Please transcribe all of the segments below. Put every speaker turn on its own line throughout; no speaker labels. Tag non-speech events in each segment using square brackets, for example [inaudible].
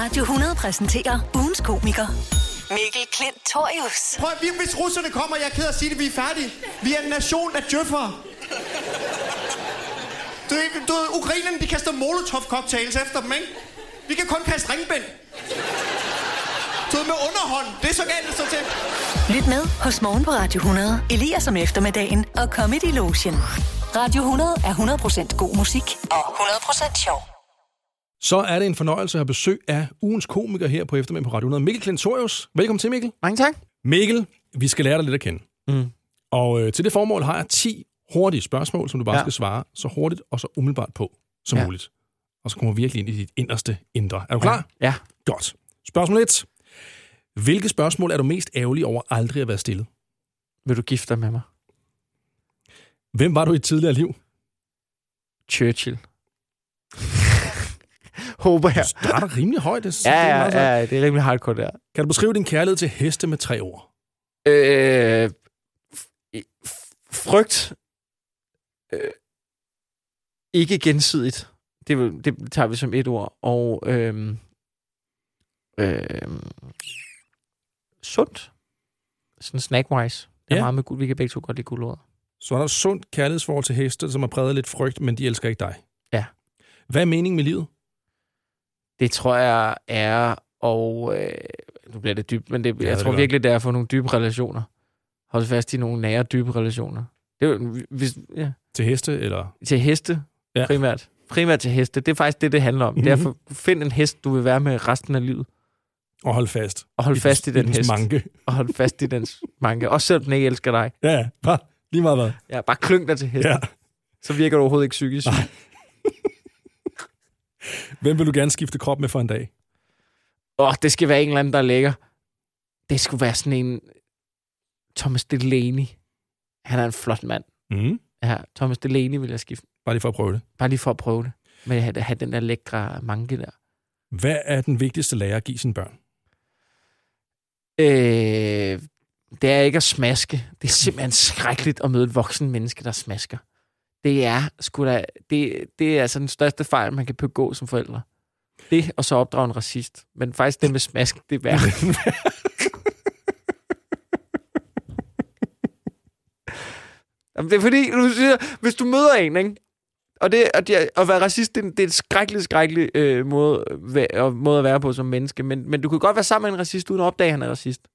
Radio 100 præsenterer ugens komiker, Mikkel Klint Torius.
Prøv at vi- hvis russerne kommer, jeg er ked af at sige det, vi er færdige. Vi er en nation af djøffere. Du, ved ikke- du, ved, ukrainerne, de kaster molotov-cocktails efter dem, ikke? Vi kan kun kaste ringbind. Du ved, med underhånd. Det er så galt, det står til.
Lyt med hos Morgen på Radio 100, Elias om eftermiddagen og Comedy Lotion. Radio 100 er 100% god musik og 100% sjov.
Så er det en fornøjelse at have besøg af ugens komiker her på eftermiddag på Radio 100. Mikkel Klintorius. Velkommen til, Mikkel.
Mange tak.
Mikkel, vi skal lære dig lidt at kende. Mm. Og øh, til det formål har jeg 10 hurtige spørgsmål, som du bare ja.
Ja.
skal svare så hurtigt og så umiddelbart på som ja.
Ja.
muligt. Og så kommer vi virkelig ind i dit inderste indre. Er du klar?
Ja.
Godt. Spørgsmål 1. Hvilke spørgsmål er du mest ærgerlig over aldrig at være stillet?
Vil du gifte dig med mig?
Hvem var du i et tidligere liv?
Churchill. [laughs] Håber jeg.
Du starter rimelig højt. Det,
Ja,
det er meget
ja,
sejt.
ja, det er rimelig hardcore der.
Kan du beskrive din kærlighed til heste med tre ord?
Øh, f- f- frygt. Øh, ikke gensidigt. Det, vil- det tager vi som et ord. Og øh, øh, sundt. Sådan snackwise. Det
Ja.
er ja. meget med guld. Vi kan begge to godt lide guldord.
Så er der et sundt kærlighedsforhold til heste, som er præget af lidt frygt, men de elsker ikke dig.
Ja.
Hvad er meningen med livet?
Det tror jeg er, og øh, nu bliver det dybt, men det,
Ja,
ja, jeg
det
tror
gør
virkelig, det er at få nogle dybe relationer. Hold fast i nogle nære, dybe relationer. Det er jo, hvis, ja.
Til heste, eller...
til heste
Ja.
ja. primært. Primært til heste. Det er faktisk det, det handler om. Mm-hmm. Det er
Mhm.
for, find en hest, du vil være med resten af livet.
Og holde fast.
Og hold fast i den
dens
hest.
manke.
Og hold fast i dens manke. Også selvom den ikke elsker dig.
Ja, ja. Bare lige meget hvad.
Ja, bare kløng dig til hesten.
Ja.
Ja. Så virker du overhovedet ikke psykisk. syg.
Hvem vil du gerne skifte krop med for en dag?
Åh, oh, det skal være en eller anden, der er lækker. Det skulle være sådan en... Thomas Delaney. Han er en flot mand.
Mm.
Ja, Thomas Delaney vil jeg skifte.
Bare lige for at prøve det.
Bare lige for at prøve det. Men at have den der lækre manke der.
Hvad er den vigtigste lærer at give sine børn?
Øh, det er ikke at smaske. Det er simpelthen skrækkeligt at møde et voksen menneske, der smasker. Det er, sgu da, det, det er altså den største fejl, man kan begå som forældre. Det, og så opdrage en racist. Men faktisk det med smask, det er værre. Jamen, det er fordi, du siger, hvis du møder en, ikke? Og det, og det, at være racist, det, er en- det er en skrækkelig, skrækkelig øh, måde, væ- og måde at være på som menneske. Men, men du kan godt være sammen med en racist, uden at opdage, at han er racist.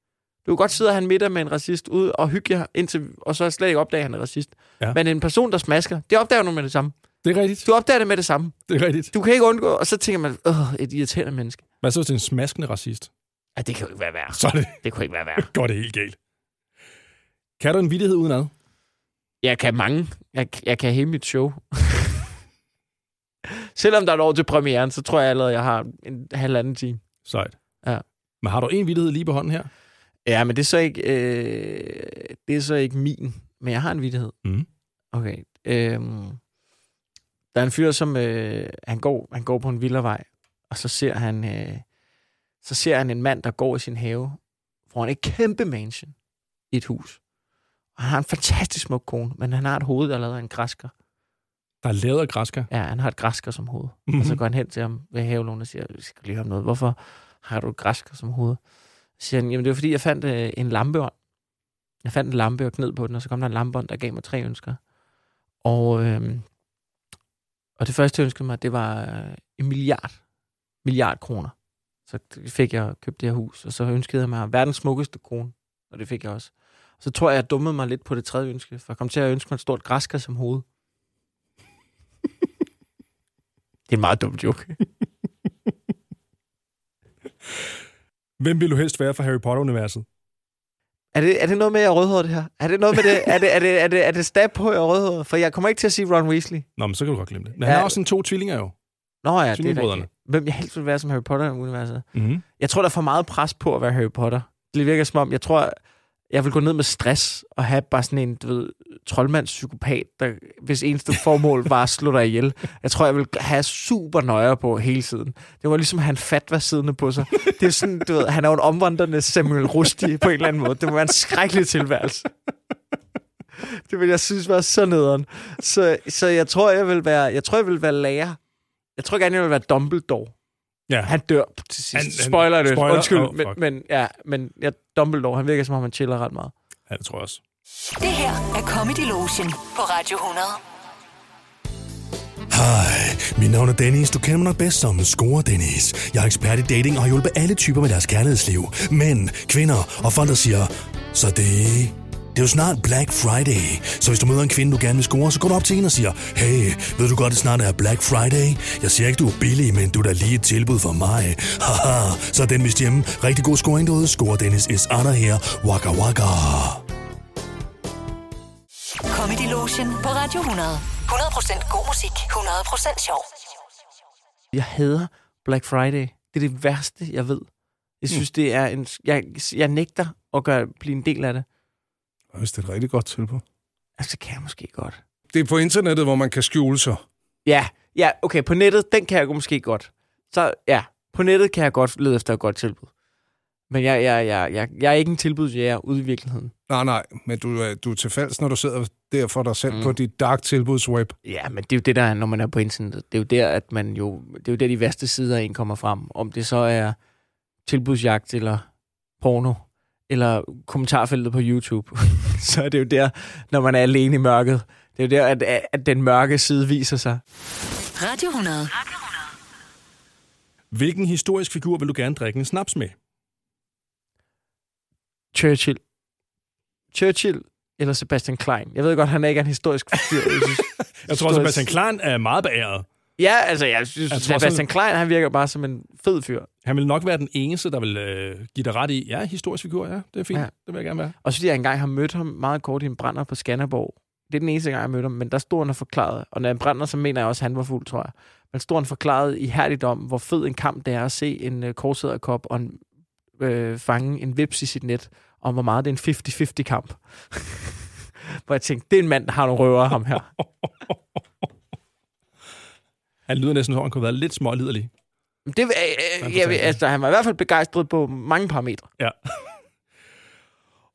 Du kan godt sidde og have en middag med en racist ud og hygge jer, indtil, og så slet ikke opdage, at han er racist.
Ja.
Ja. Men en person, der smasker, det opdager du med det samme.
Det er rigtigt.
Du opdager det med det samme.
Det er rigtigt.
Du kan ikke undgå, og så tænker man, åh, et irriterende menneske.
Hvad så, hvis det er en smaskende racist?
Ja, det kan jo ikke være værre.
Så er det,
Det kunne ikke være værre.
går det helt galt. Kan du en vittighed udenad?
Jeg kan mange. Jeg, jeg kan hele mit show. Selvom der er et år til premieren, så tror jeg allerede, jeg har en halvanden time.
Sejt.
Ja.
Men har du en vittighed lige på hånden her?
Ja, men det er så ikke, øh, det er så ikke min. Men jeg har en vidighed.
Mm.
Okay. Øhm, der er en fyr, som øh, han, går, han går på en villavej, og så ser han, øh, så ser han en mand, der går i sin have, foran et kæmpe mansion i et hus. Og han har en fantastisk smuk kone, men han har et hoved, der er lavet af en græsker.
Der er lavet af græsker.
Ja, han har et græsker som hoved.
Mhm.
Og så går han hen til ham ved havelån og siger, vi skal lige høre om noget. Hvorfor har du et græsker som hoved? Så siger han, jamen det var fordi, jeg fandt øh, en lampeånd. Jeg fandt en lampe og kned på den, og så kom der en lampeånd, der gav mig tre ønsker. Og, øh, og det første, jeg ønskede mig, det var øh, en milliard. Milliard kroner. Så fik jeg købt det her hus, og så ønskede jeg mig verdens smukkeste kone. Og det fik jeg også. Så tror jeg, jeg dummede mig lidt på det tredje ønske, for jeg kom til at ønske mig et stort græsker som hoved. Det er en meget dum joke.
Hvem vil du helst være fra Harry Potter-universet?
Er det, er det noget med, at jeg er rødhåret, det her? Er det noget med det? Er det, er det, er det, er det stab på, at jeg er rødhåret? For jeg kommer ikke til at sige Ron Weasley.
Nå, men så kan du godt glemme det. Men han
Ja.
har også sådan to tvillinger jo.
Nå ja, det er
Tvillingbrødrene.
rigtigt. Hvem jeg helst vil være som Harry Potter-universet.
Mm-hmm.
Jeg tror, der er for meget pres på at være Harry Potter. Det virker som om, jeg tror, jeg vil gå ned med stress og have bare sådan en, du ved, troldmandspsykopat, der, hvis eneste formål var at slå dig ihjel. Jeg tror, jeg vil have super nøjer på hele tiden. Det var ligesom, at han fat var siddende på sig. Det er sådan, du ved, han er jo en omvandrende Samuel Rusty på en eller anden måde. Det må være en skrækkelig tilværelse. Det vil jeg synes var så nederen. Så, så jeg tror, jeg vil være, jeg tror, jeg vil være lærer. Jeg tror gerne, jeg vil være Dumbledore.
Ja.
Han dør til sidst.
Han-
Han,
han-
spoiler alert.
spoiler.
Undskyld,
Åh,
men,
fuck.
men, ja, men ja, Dumbledore, han virker som om, han chiller ret meget.
Ja, det tror jeg også.
Det her er Comedy Lotion på Radio 100.
Hej, mit navn er Dennis. Du kender mig nok bedst som Score Dennis. Jeg er ekspert i dating og har hjulpet alle typer med deres kærlighedsliv. Mænd, kvinder og folk, der siger, så det... Det er jo snart Black Friday, så hvis du møder en kvinde, du gerne vil score, så går du op til hende og siger, hey, ved du godt, det snart er Black Friday? Jeg siger ikke, du er billig, men du er da lige et tilbud for mig. Haha, så er den vist hjemme. Rigtig god scoring derude. Score Dennis is under her. Waka waka.
Comedy Lotion på Radio 100. 100% god musik, 100% sjov.
Jeg hader Black Friday. Det er det værste, jeg ved.
Mm.
Jeg synes, det er en... Jeg, jeg nægter at gøre, blive en del af det.
Hvis det er et rigtig godt tilbud.
Altså, det kan jeg måske godt.
Det er på internettet, hvor man kan skjule sig.
Ja, ja, okay, på nettet, den kan jeg måske godt. Så ja, på nettet kan jeg godt lede efter et godt tilbud. Men jeg, jeg, jeg, jeg, jeg er ikke en tilbudsjæger ude i virkeligheden.
Nej, nej, men du, er- du er til falsk, når du sidder der for dig selv mm.
Mm.
på dit dark tilbudsweb.
Ja, men det er jo det, der er, når man er på internettet. Det er jo der, at man jo... Det er jo der, de værste sider af en kommer frem. Om det så er tilbudsjagt eller porno eller kommentarfeltet på YouTube, [laughs] så er det jo der, når man er alene i mørket. Det er jo der, at, at den mørke side viser sig.
Radio 100.
Hvilken historisk figur vil du gerne drikke en snaps med?
Churchill. Churchill eller Sebastian Klein. Jeg ved godt, han ikke er en historisk figur. Jeg, synes,
[laughs] Jeg tror, at
historisk-
Sebastian Klein er meget beæret.
Ja, altså, jeg synes,
Jeg
jeg
tror,
Sebastian
sådan-
Klein, han virker bare som en fed fyr.
Han vil nok være den eneste, der vil øh, give dig ret i, ja, historisk figur, ja, det er fint, ja.
Ja.
det vil jeg gerne være.
Og så fordi jeg engang har mødt ham meget kort i en brænder på Skanderborg. Det er den eneste gang, jeg mødte ham, men der stod han og forklarede. Og når han brænder, så mener jeg også, at han var fuld, tror jeg. Men stod han og forklarede ihærdigt om, hvor fed en kamp det er at se en øh, korsæderkop og en, øh, fange en vips i sit net, om hvor meget det er en 50-50 kamp. [laughs] hvor jeg tænkte, det er en mand, der har nogle røver, ham her.
Han lyder næsten, som om han kunne være lidt småliderlig.
Men Det, øh,
Man
øh,
fortæller
jeg, ved-
det.
altså, han var i hvert fald begejstret på mange parametre.
Ja.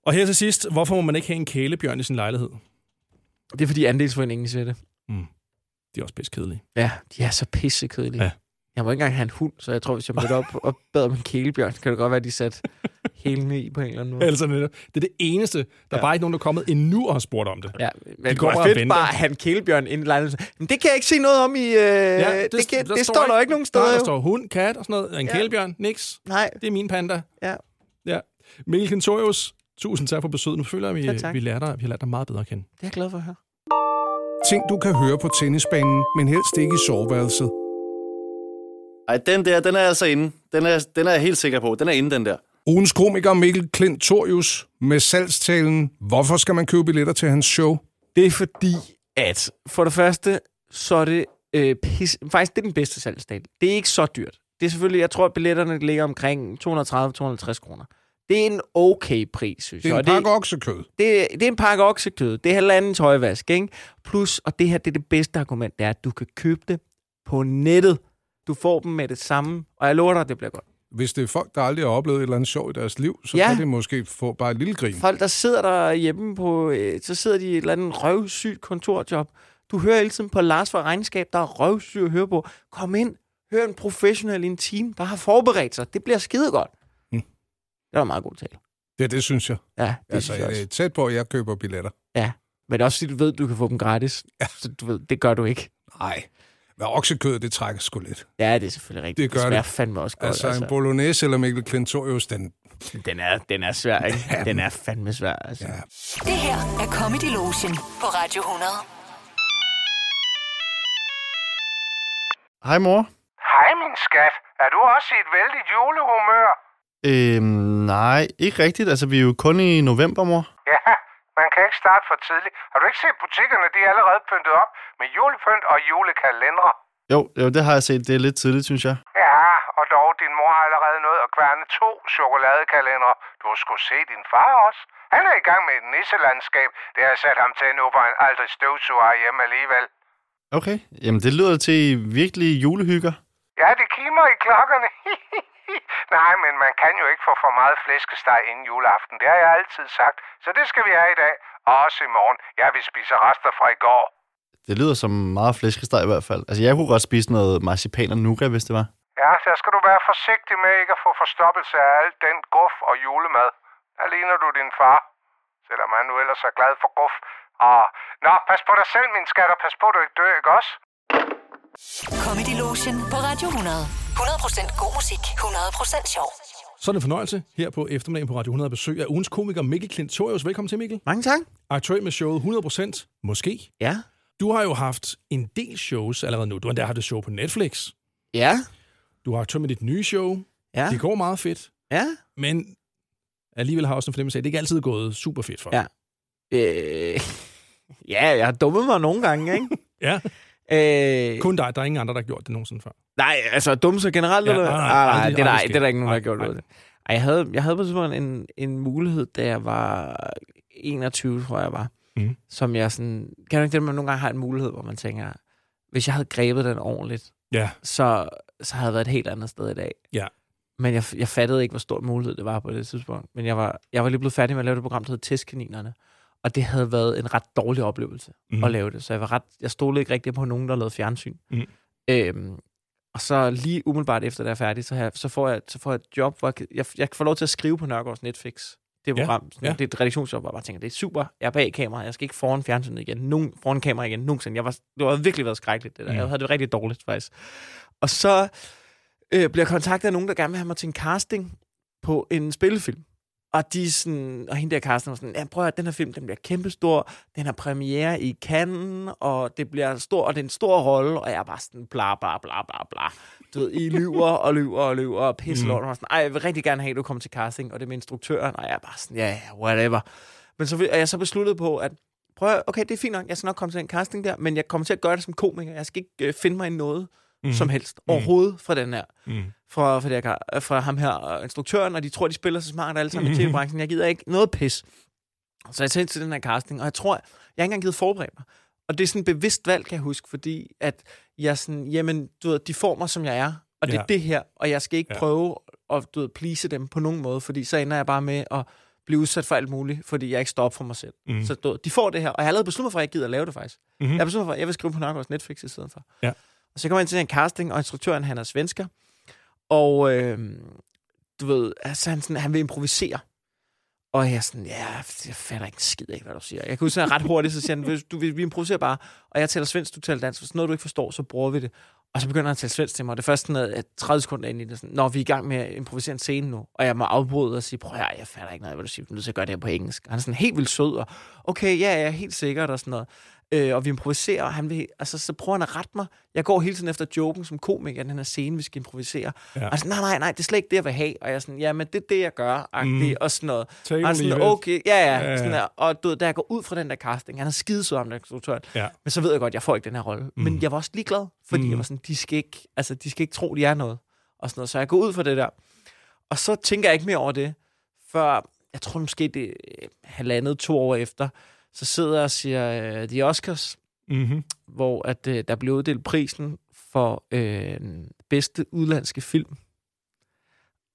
Og her til sidst, hvorfor må man ikke have en kælebjørn i sin lejlighed?
Det er fordi andelsforeningen siger det.
Det er også pisse kedeligt.
Ja, de er så pissekedelige.
Ja.
Ja. Jeg må ikke engang have en hund, så jeg tror, hvis jeg mødte op og bad om en kælebjørn, så kan det godt være, at de satte hælene i på en eller anden måde.
Altså, netop. det er det eneste. Der er
Ja.
bare ikke nogen, der er kommet endnu og har spurgt om det.
Ja, men det
går
går
bare og
fedt
venter.
bare at have en kælebjørn ind i lejligheden. Men det kan jeg ikke se noget om i... Øh, ja, det, det, kan, det står der jo ikke nogen
Nej,
steder.
der
jo.
står hund, kat og sådan noget. En ja.
Ja.
kælebjørn, niks.
Nej,
Det er min panda.
ja.
Ja. Mikkel Kentorius, tusind tak for besøget. Nu føler jeg, vi,
Ja,
ja,
tak.
vi, lærer dig, vi har lært dig meget bedre at kende.
Det er jeg glad for at høre.
Ting, du kan høre på tennisbanen, Mm, men helst ikke i soveværelset.
Ej, den der, den er altså inde. Den er, den er jeg helt sikker på. Den er inde, den der.
Ugens komiker Mikkel Klintorius med salgstalen Hvorfor skal man købe billetter til hans show?
Det er fordi, at for det første, så er det øh, pis, faktisk det er den bedste salgsdag. Det er ikke så dyrt. Det er selvfølgelig, jeg tror, at billetterne ligger omkring 230-250 kroner. Det er en okay pris, synes
Det er
jeg.
en
Og
pakke oksekød.
det, det er en pakke oksekød. Det er halvanden tøjvask, ikke? Plus, og det her det er det bedste argument, det er, at du kan købe det på nettet. Du får dem med det samme, og jeg lover dig, det bliver godt.
Hvis det er folk, der aldrig har oplevet et eller andet sjov i deres liv, så
Ja.
kan de måske få bare et lille grin.
Folk, der sidder der hjemme på, øh, så sidder de i et eller andet røvsygt kontorjob. Du hører hele tiden på Lars fra Regnskab, der er røvsyg at høre på. Kom ind, hør en professionel i en team, der har forberedt sig. Det bliver skide godt.
Mm.
Det var en meget god tale.
Ja, det synes jeg.
Ja, det
Altså,
synes jeg
jeg er
også.
tæt på, at jeg køber billetter.
Men det er også fordi, du ved, du kan få dem gratis. Ja. Så du ved, det gør du ikke.
Nej. Men oksekød, det trækker sgu lidt.
Ja, det er selvfølgelig rigtigt.
Det gør
det smager
det.
fandme også godt.
Altså, en bolognese eller Mikkel Klintorius, den...
Den er, den er svær,
[laughs]
ikke? Den er fandme svær, altså.
Ja.
Det her er Comedy Lotion på Radio 100.
Hej, mor.
Hej, min skat. Er du også i et vældigt julehumør?
Øhm, nej, ikke rigtigt. Altså, vi er jo kun i november, mor.
Ja, man kan ikke starte for tidligt. Har du ikke set butikkerne? De er allerede pyntet op med julepynt og julekalendere.
Jo, jo, det har jeg set. Det er lidt tidligt, synes jeg.
Ja, og dog, din mor har allerede nået at kværne to chokoladekalendere. Du skulle se din far også. Han er i gang med et nisselandskab. Det har sat ham til nu, hvor han aldrig støvsuger hjemme alligevel.
Okay. Jamen, det lyder til virkelig julehygger.
Ja, det kimer i klokkerne. [laughs] Nej, men man kan jo ikke få for meget flæskesteg inden juleaften. Det har jeg altid sagt. Så det skal vi have i dag. Og også i morgen. Jeg vil spise rester fra i går.
Det lyder som meget flæskesteg i hvert fald. Altså, jeg kunne godt spise noget marcipan og nougat, hvis det var.
Ja, der skal du være forsigtig med ikke at få forstoppelse af alt den guf og julemad. Der ligner du din far. Selvom han nu ellers er glad for guf. Og, nå, pas på dig selv, min skat, og pas på, du ikke dør, ikke også?
Comedy Lotion på Radio 100. 100% god musik, 100% sjov.
Så er det en fornøjelse her på eftermiddagen på Radio 100 at besøg af ugens komiker Mikkel Klintorius. Velkommen til, Mikkel.
Mange tak.
Aktuel med showet 100%, måske.
Ja.
Du har jo haft en del shows allerede nu. Du har endda haft et show på Netflix.
Ja.
Du har aktuel med dit nye show.
Ja.
Det går meget fedt,
Ja.
men alligevel har jeg også en fornemmelse af, at det ikke altid er gået super fedt for dig.
Ja. Øh, [laughs] ja, jeg har dummet mig nogle gange,
[laughs]
ikke?
ja.
Øh,
Kun dig. Der er ingen andre, der har gjort det nogensinde før.
Nej, altså dumme så generelt?
Ja,
Ja, eller?
nej,
Nej,
nej,
nej, nej,
aldrig-
det, er der,
aldrig
det er der
sket.
ikke nogen, der har
Nej,
gjort
nej.
noget. ved. Ej, jeg havde, jeg havde på et tidspunkt en, en mulighed, da jeg var 21, tror jeg var.
Mhm.
Mm. Som jeg sådan... Kan du ikke det, at man nogle gange har en mulighed, hvor man tænker, hvis jeg havde grebet den ordentligt,
Ja.
så, så havde jeg været et helt andet sted i dag.
Ja.
Men jeg, jeg fattede ikke, hvor stor en mulighed det var på det tidspunkt. Men jeg var, jeg var lige blevet færdig med at lave det program, der hed Testkaninerne. Og det havde været en ret dårlig oplevelse
Mhm.
mm. at lave det. Så jeg, var ret, jeg stolede ikke rigtig på nogen, der lavede fjernsyn.
Mhm.
Øhm, og så lige umiddelbart efter, det er færdig, så, har, jeg- så, får jeg, så får jeg et job, hvor jeg, kan- jeg, jeg får lov til at skrive på Nørgaards Netflix. Det
Ja,
program, sådan,
ja.
det er et redaktionsjob, hvor jeg bare tænker, det er super, jeg er bag kamera, jeg skal ikke foran fjernsynet igen, nogen, foran kamera igen, nogensinde. Jeg var, det var virkelig været skrækkeligt, det der.
Mm.
Jeg havde det rigtig dårligt, faktisk. Og så øh, bliver jeg kontaktet af nogen, der gerne vil have mig til en casting på en spillefilm. Og, de er sådan, og hende der Carsten var sådan, ja, prøv at høre, den her film, den bliver kæmpestor, den har premiere i Cannes, og det bliver stor, og det er en stor rolle, og jeg er bare sådan, bla bla bla bla bla. Du ved, I lyver og lyver og lyver og pisse lort, og var sådan, ej, jeg vil rigtig gerne have, at du kommer til casting, og det er med instruktøren, og jeg er bare sådan, ja, yeah, whatever. Men så er jeg så besluttet på, at prøv at, høre, okay, det er fint nok, jeg skal nok komme til den casting der, men jeg kommer til at gøre det som komiker, jeg skal ikke øh, finde mig i noget mm. som helst, overhovedet fra den her
Mm.
fra, fra, det, her, kar- øh, fra ham her og instruktøren, og de tror, de spiller så smart
[laughs]
alle sammen i tv-branchen. Jeg gider ikke noget pis. Så jeg tænkte til den her casting, og jeg tror, jeg har ikke engang givet forberedt mig. Og det er sådan et bevidst valg, kan jeg huske, fordi at jeg sådan, jamen, du ved, de får mig, som jeg er, og det
Ja.
er det her, og jeg skal ikke
Ja.
ja. prøve at, du ved, please dem på nogen måde, fordi så ender jeg bare med at blive udsat for alt muligt, fordi jeg ikke står op for mig selv.
Mm.
Mm. Så du ved, de får det her, og jeg har allerede besluttet mig for, at jeg gider at lave det faktisk.
Mhm.
Mm-hmm. Jeg har besluttet mig for, at jeg vil skrive på Nørgaards Netflix i stedet for.
Ja.
Og så kommer jeg ind til den her casting, og instruktøren, han er svensker, og øh, du ved, altså, han, sådan, han vil improvisere. Og jeg er sådan, ja, jeg fatter ikke en skid af, hvad du siger. Jeg kan huske, at ret hurtigt, så siger han, "Hvis du, vi, vi improviserer bare, og jeg taler svensk, du taler dansk. Hvis noget, du ikke forstår, så bruger vi det. Og så begynder han at tale svensk til mig, og det første sådan, at 30 sekunder ind i det, sådan, når vi er i gang med at improvisere en scene nu, og jeg må afbryde og sige, prøv at høre, jeg fatter ikke noget, af, hvad du siger, du er nødt til at gøre det her på engelsk. Og han er sådan helt vildt sød, og okay, ja, ja, helt sikkert, og sådan noget. Øh, og vi improviserer, og han vil, altså, så prøver han at rette mig. Jeg går hele tiden efter joken som komiker, den her scene, vi skal improvisere. Ja. Og han er sådan, nej, nej, nej, det er slet ikke det, jeg vil have. Og jeg er sådan, ja, men det er det, jeg gør, mm. og sådan noget.
Take
Og han er
it or
sådan,
leave it.
okay, ja, ja.
Ja,
ja,
ja.
Sådan der. Og du ved, da jeg går ud fra den der casting, han er skidesød om den instruktøren,
Ja.
men så ved jeg godt, at jeg får ikke den her rolle. Mm. Men jeg var også ligeglad, fordi mm. jeg var sådan, de skal, ikke, altså, de skal ikke tro, de er noget. Og sådan noget. Så jeg går ud fra det der. Og så tænker jeg ikke mere over det, før, jeg tror måske det er halvandet, to år efter, så sidder jeg og siger, øh, de Oscars,
Mm-hmm.
hvor at, øh, der blev uddelt prisen for øh, bedste udlandske film.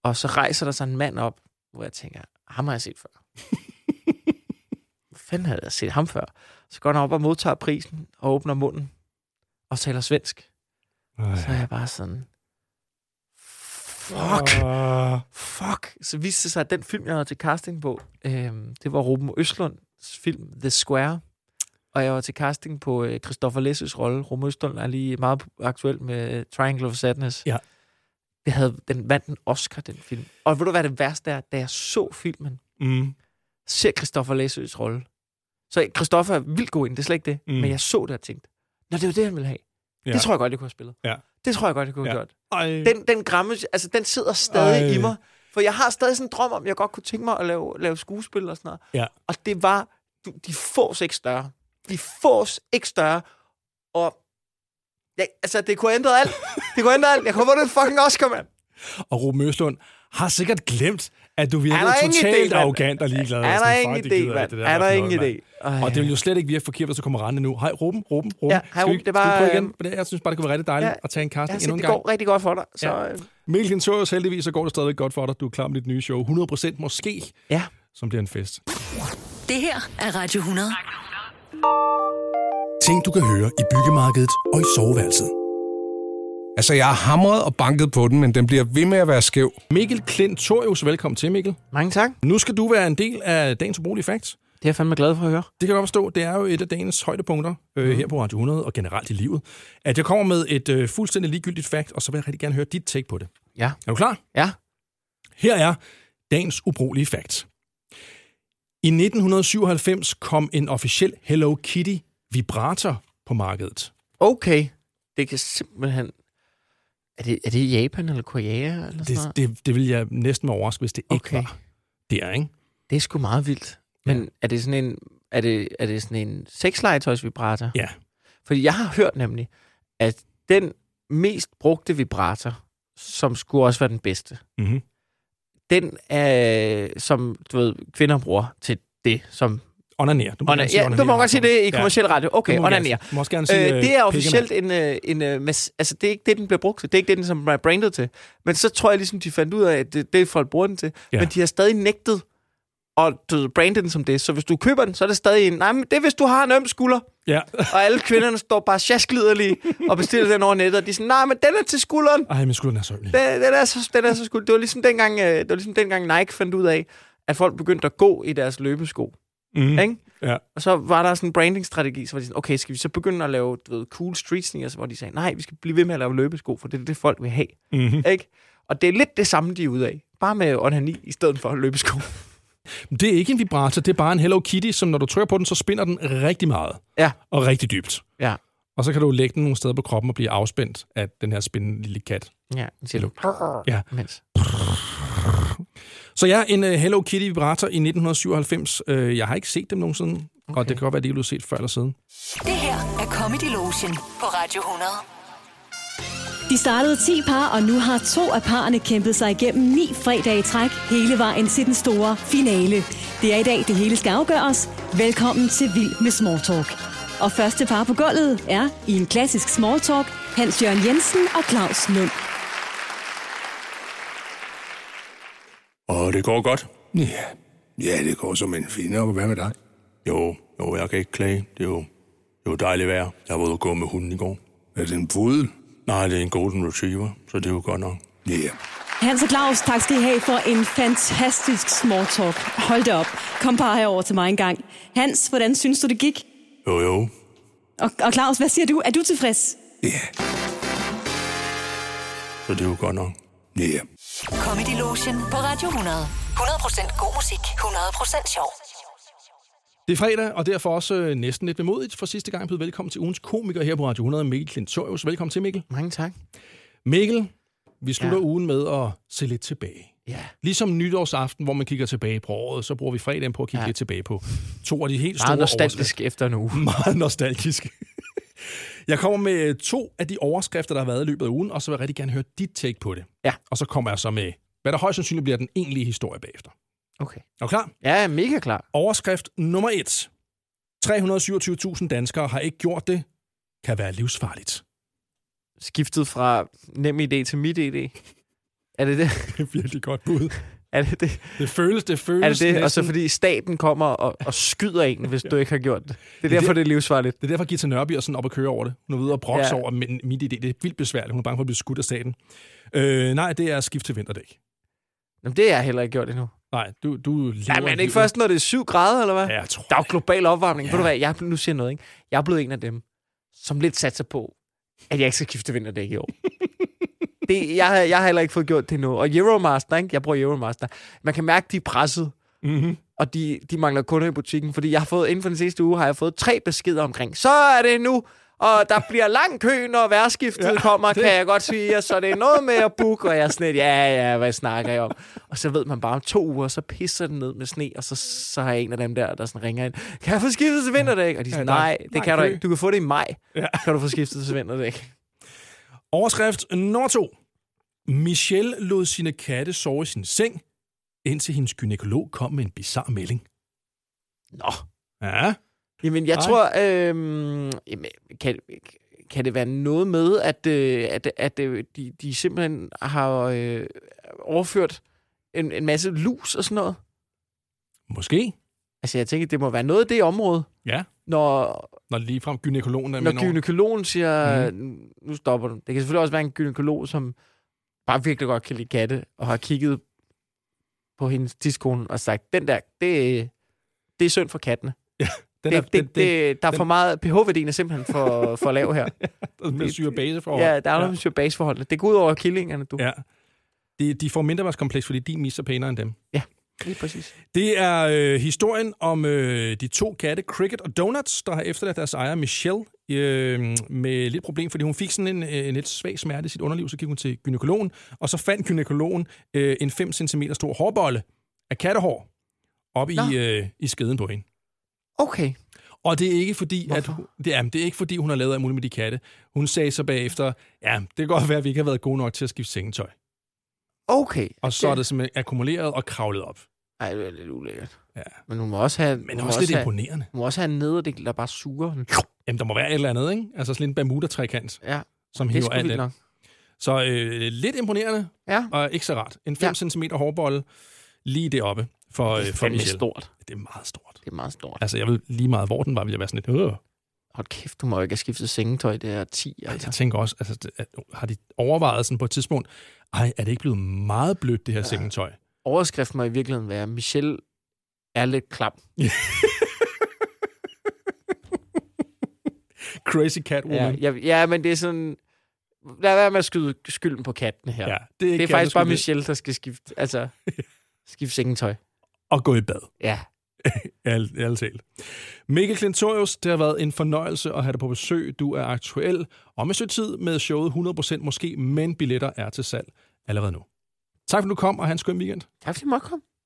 Og så rejser der sig en mand op, hvor jeg tænker, ham har jeg set før. Hvor fanden havde jeg set ham før? Så går han op og modtager prisen og åbner munden og taler svensk. Så er jeg bare sådan, fuck,
Uh,
fuck. Så viste det sig, at den film, jeg havde til casting på, øh, det var Ruben Østlunds film The Square. Og jeg var til casting på øh, Christopher Lesses rolle. Ruben Østlund er lige meget aktuel med øh, Triangle of Sadness.
Ja.
Det havde, den vandt en Oscar, den film. Og ved du, hvad det værste er? Da jeg så filmen,
mm,
ser Christoffer Læsøs rolle. Så Christoffer er vildt god ind, det er slet ikke det.
Mm.
Mm. Men jeg så det og tænkte, nå, det var det, han ville have.
Ja.
Ja. Det tror jeg godt, jeg kunne have spillet.
Ja.
Det tror jeg godt, jeg kunne have
Ja.
gjort.
ej,
Den, den gramme, altså den sidder stadig
Mm. Ej.
Ej. i mig. For jeg har stadig sådan en drøm om, at jeg godt kunne tænke mig at lave, lave skuespil og sådan noget.
Ja.
Og det var, du, de fås ikke større. De fås ikke større. Og ja, altså, det kunne have ændret alt. Det kunne have ændret alt. Jeg kunne have vundet en fucking Oscar, mand.
Og Ruben Østlund har sikkert glemt, at du
Er
virkede
der ingen
totalt
idé, mand?
arrogant og ligeglad.
Er der
Sådan,
ingen
fuck, det
idé,
gider jeg
mand?
ikke, det
Er
hvad
der
for
ingen
noget,
idé? Ej.
mand. Og det vil jo slet ikke virke forkert, hvis du kommer rendende nu. Hej, Ruben, Ruben, Ruben.
Ja, hej,
Skal vi-
Ruben, det var,
Skal vi prøve igen?
øhm,
For det- Jeg synes bare, det kunne være rigtig dejligt
ja.
at tage en
Jeg har
casting
set,
endnu en
det
gang.
går rigtig godt for dig. Så, øh.
Ja.
ja.
Mikkel Klintorius, heldigvis, så går det stadigvæk godt for dig. Du er klar med dit nye show. 100% måske,
ja.
som bliver en fest.
Det her er Radio 100.
Ting, du kan høre i byggemarkedet og i soveværelset.
Altså, jeg har hamret og banket på den, men den bliver ved med at være skæv.
Mikkel Klintorius, velkommen til, Mikkel.
Mange tak.
Nu skal du være en del af dagens ubrugelige facts.
Det er jeg fandme glad for at høre.
Det kan jeg godt forstå, det er jo et af dagens højdepunkter
Mhm.
øh, her på Radio 100 og generelt i livet, at jeg kommer med et øh, fuldstændig ligegyldigt fakt, og så vil jeg rigtig gerne høre dit take på det.
Ja.
Er du klar?
Ja.
Her er dagens ubrugelige fakt. I 1997 kom en officiel Hello Kitty vibrator på markedet.
Okay. Det kan simpelthen... Er det, er det i Japan eller Korea eller sådan
Det,
noget?
det, det vil jeg næsten være overrasket, hvis det ikke
Okay.
var. Det er, ikke?
Det er sgu meget vildt. Men er det sådan en... Er det, er det sådan en sexlegetøjsvibrator?
Ja.
Fordi jeg har hørt nemlig, at den mest brugte vibrator, som skulle også være den bedste,
Mm-hmm.
den er, som du ved, kvinder bruger til det, som...
Onaner. Du må,
Onaner.
gerne sige
Ja, du må godt sige det i kommersiel radio.
Ja.
Okay,
Du må gerne-
onaner.
Du må også gerne sige,
Øh, det er
pikkemand.
officielt en, øh, en øh, mas- altså det er ikke det, den bliver brugt til. Det er ikke det, den som er brandet til. Men så tror jeg ligesom, de fandt ud af, at det, det er folk bruger den til.
Ja.
Ja. Men de har stadig nægtet at du ved, brande den som det. Så hvis du køber den, så er det stadig en, nej, men det er, hvis du har en øm skulder.
Ja.
Og alle kvinderne står bare sjaskliderlige og bestiller den over nettet. Og de er sådan, nej, men den er til skulderen.
Ej, min skulder er så ømelig.
Den, den, er så, den er så skud. Det var ligesom dengang, øh, det var ligesom dengang Nike fandt ud af, at folk begyndte at gå i deres løbesko.
Mm.
Mm. Ikke?
Ja.
Og så var der sådan en brandingstrategi, så var de sådan, okay, skal vi så begynde at lave du ved, cool street sneakers, hvor de sagde, nej, vi skal blive ved med at lave løbesko, for det er det, folk vil have.
Mm-hmm.
Ikke? Og det er lidt det samme, de er ude af. Bare med onani i stedet for løbesko.
Det er ikke en vibrator, det er bare en Hello Kitty, som når du trykker på den, så spinder den rigtig meget.
Ja.
Og rigtig dybt.
Ja.
Og så kan du lægge den nogle steder på kroppen og blive afspændt af den her spændende lille kat.
Ja, siger du.
Ja.
Mens.
Så ja, en uh, Hello Kitty vibrator i 1997. Uh, jeg har ikke set dem nogensinde, okay. og det kan godt være, at de ikke blev set før eller siden.
Det her er Comedy Lotion på Radio 100.
De startede 10 par, og nu har to af parerne kæmpet sig igennem ni fredage i træk hele vejen til den store finale. Det er i dag, det hele skal afgøres. Velkommen til Vild med Smalltalk. Og første par på gulvet er, i en klassisk smalltalk, Hans Jørgen Jensen og Claus Lund.
Og det går godt? Ja. Ja, det går som en finder. Hvad med dig? Jo, jo, jeg kan ikke klage. Det er jo, det er jo dejligt vejr. Jeg var ude og gå med hunden i går. Er det en pudel? Nej, det er en golden retriever, så det er jo godt nok. Ja.
Hans og Claus, tak skal I have for en fantastisk smalltalk. Hold da op. Kom bare herover til mig en gang. Hans, hvordan synes du, det gik?
Jo, jo.
Og, og Claus, hvad siger du? Er du tilfreds?
Så det er jo godt nok. Ja.
Comedy Lotion på Radio 100. 100% god musik, 100% sjov.
Det er fredag, og derfor også øh, næsten lidt bemodigt for sidste gang blevet velkommen til ugens komiker her på Radio 100, Mikkel Klintorius. Velkommen til, Mikkel.
Mange tak.
Mikkel, vi slutter ja.
Ja.
ugen med at se lidt tilbage.
Ja.
Ligesom nytårsaften, hvor man kigger tilbage på året, så bruger vi fredagen på at kigge ja.
Ja.
lidt tilbage på to af de helt store
Meget nostalgisk efter en uge.
overskrifter. [laughs] Meget nostalgisk. Jeg kommer med to af de overskrifter, der har været i løbet af ugen, og så vil jeg rigtig gerne høre dit take på det.
Ja.
Og så kommer jeg så med, hvad der højst sandsynligt bliver den egentlige historie bagefter.
Okay.
Er du klar?
Ja, jeg er mega klar.
Overskrift nummer et. 327.000 danskere har ikke gjort det. Kan være livsfarligt. [laughs]
Skiftet fra nem idé til mit idé. Er det [laughs] det?
Det er virkelig godt bud.
Er det det?
Det føles, det føles
Er det det? Og så
næsten-
fordi staten kommer og, og skyder en, [laughs] hvis du ikke har gjort det. Det er
det-
derfor, det er livsfarligt.
Det er derfor, Gita Nørby er sådan op at køre over det. Hun er ude og brokse ja.
Ja.
over, men mit idé, det er vildt besværligt. Hun er bange for at blive skudt af staten. Øh, nej, det er at skifte til vinterdæk.
Jamen, det har jeg heller ikke gjort endnu.
Nej, du, du lever...
Ja, men er det
livet.
ikke først, når det er 7 grader, eller hvad?
Ja, jeg tror
Der er jo
det.
global opvarmning.
Ja.
Ja. Ved du hvad, jeg, er ble- nu siger jeg noget, ikke? Jeg er blevet en af dem, som lidt satser på, at jeg ikke skal skifte vinterdæk i år. det, jeg, har- jeg har heller ikke fået gjort det endnu. Og Euromaster, ikke? Jeg bruger Euromaster. Man kan mærke, de er presset.
Mm-hmm.
og de, de mangler kunder i butikken, fordi jeg har fået, inden for den sidste uge, har jeg fået tre beskeder omkring, så er det nu, og der bliver lang kø, når værskiftet ja, kommer, det. kan jeg godt sige, og så det er noget med at booke, og jeg er sådan lidt, ja, ja, hvad snakker jeg om? Og så ved man bare, om to uger, så pisser den ned med sne, og så, så har jeg en af dem der, der sådan ringer ind, kan jeg få skiftet til vinterdæk? Og de er sådan,
Ja, der er
nej, det
lang
kan du
kø."
ikke, du kan få det i maj, ja. kan du få skiftet til vinterdæk.
Overskrift nummer to. Michelle lod sine katte sove i sin seng, indtil hendes gynekolog kom med en bizarre melding.
Nå.
Ja.
Jamen, jeg
Nej.
Ej. tror, øh, jamen, kan, kan det være noget med, at, øh, at, at øh, de, de simpelthen har øh, overført en, en masse lus og sådan noget?
Måske.
Altså, jeg tænker, det må være noget af det område,
Ja,
når
når ligefrem gynekologen er med
når
over.
gynekologen siger,
Mhm.
mm. nu stopper du. Det kan selvfølgelig også være en gynekolog, som bare virkelig godt kan lide katte, og har kigget på hendes tidskone og sagt, den der, det, det er synd for kattene.
Den
det,
er,
det, det, det, der er
den-
for meget, pH-værdien er simpelthen for, for lav her.
den, den, den
det-
syre base for
ja, der er nogle ja. baseforholdene. Det går ud over killingerne, du. Ja.
Ja. De, de får mindreværdskompleks, fordi din mis er pænere end dem.
Lige præcis.
Det er øh, historien om øh, de to katte, Cricket og Donuts, der har efterladt deres ejer, Michelle, øh, med lidt problem, fordi hun fik sådan en, øh, en lidt svag smerte i sit underliv, så gik hun til gynekologen, og så fandt gynekologen øh, en 5 cm stor hårbolle af kattehår op i,
Nå.
øh, i skeden på hende.
Okay.
Og det er ikke fordi, at
Hvorfor?
hun, det, er, det er ikke fordi, hun har lavet alt muligt med de katte. Hun sagde så bagefter, ja, det kan godt være, at vi ikke har været gode nok til at skifte sengetøj.
Okay.
Og så er det simpelthen akkumuleret og kravlet op.
Ej, det er lidt ulækkert.
Ja.
Men hun må også have... hun
Men
må
også lidt
have,
imponerende.
hun må også have en nederdel, der bare suger. Sådan.
Jamen, der må være et eller andet, ikke? Altså sådan lidt en Bermuda-trekant,
Ja,
som
det er
hiver
sgu
alt
vildt
ind.
nok.
Så øh, lidt imponerende,
Ja.
og ikke så rart. En 5 ja. cm hårbolle lige deroppe for, øh, for
Fandme
Michelle.
stort.
Det er meget stort.
Det er meget stort.
Altså, jeg ved lige meget, hvor den var, ville jeg være sådan lidt... Øh.
Hold kæft, du må jo ikke have skiftet sengetøj, det er 10.
Og Jeg
Altså.
tænker også, altså, det- at, har de overvejet sådan på et tidspunkt, ej, er det ikke blevet meget blødt, det her ja. sengetøj?
Overskriften må i virkeligheden være, Michelle er lidt klam.
Crazy Catwoman.
Ja, ja, ja, men det er sådan... Lad være med at skyde skylden på kattene her.
det
Ja,
er,
det er
ikke
faktisk bare
kattens skyld,
Michelle, der skal skifte,
[laughs]
altså, skifte sengetøj.
det- At gå i bad.
Ja,
Alt, alt talt. Mikkel Klintorius, det har været en fornøjelse at have dig på besøg. Du er aktuel om et stykke tid med showet 100% måske, men billetter er til salg allerede nu. Tak for, at du kom, og have en skøn weekend.
tak fordi du måtte komme.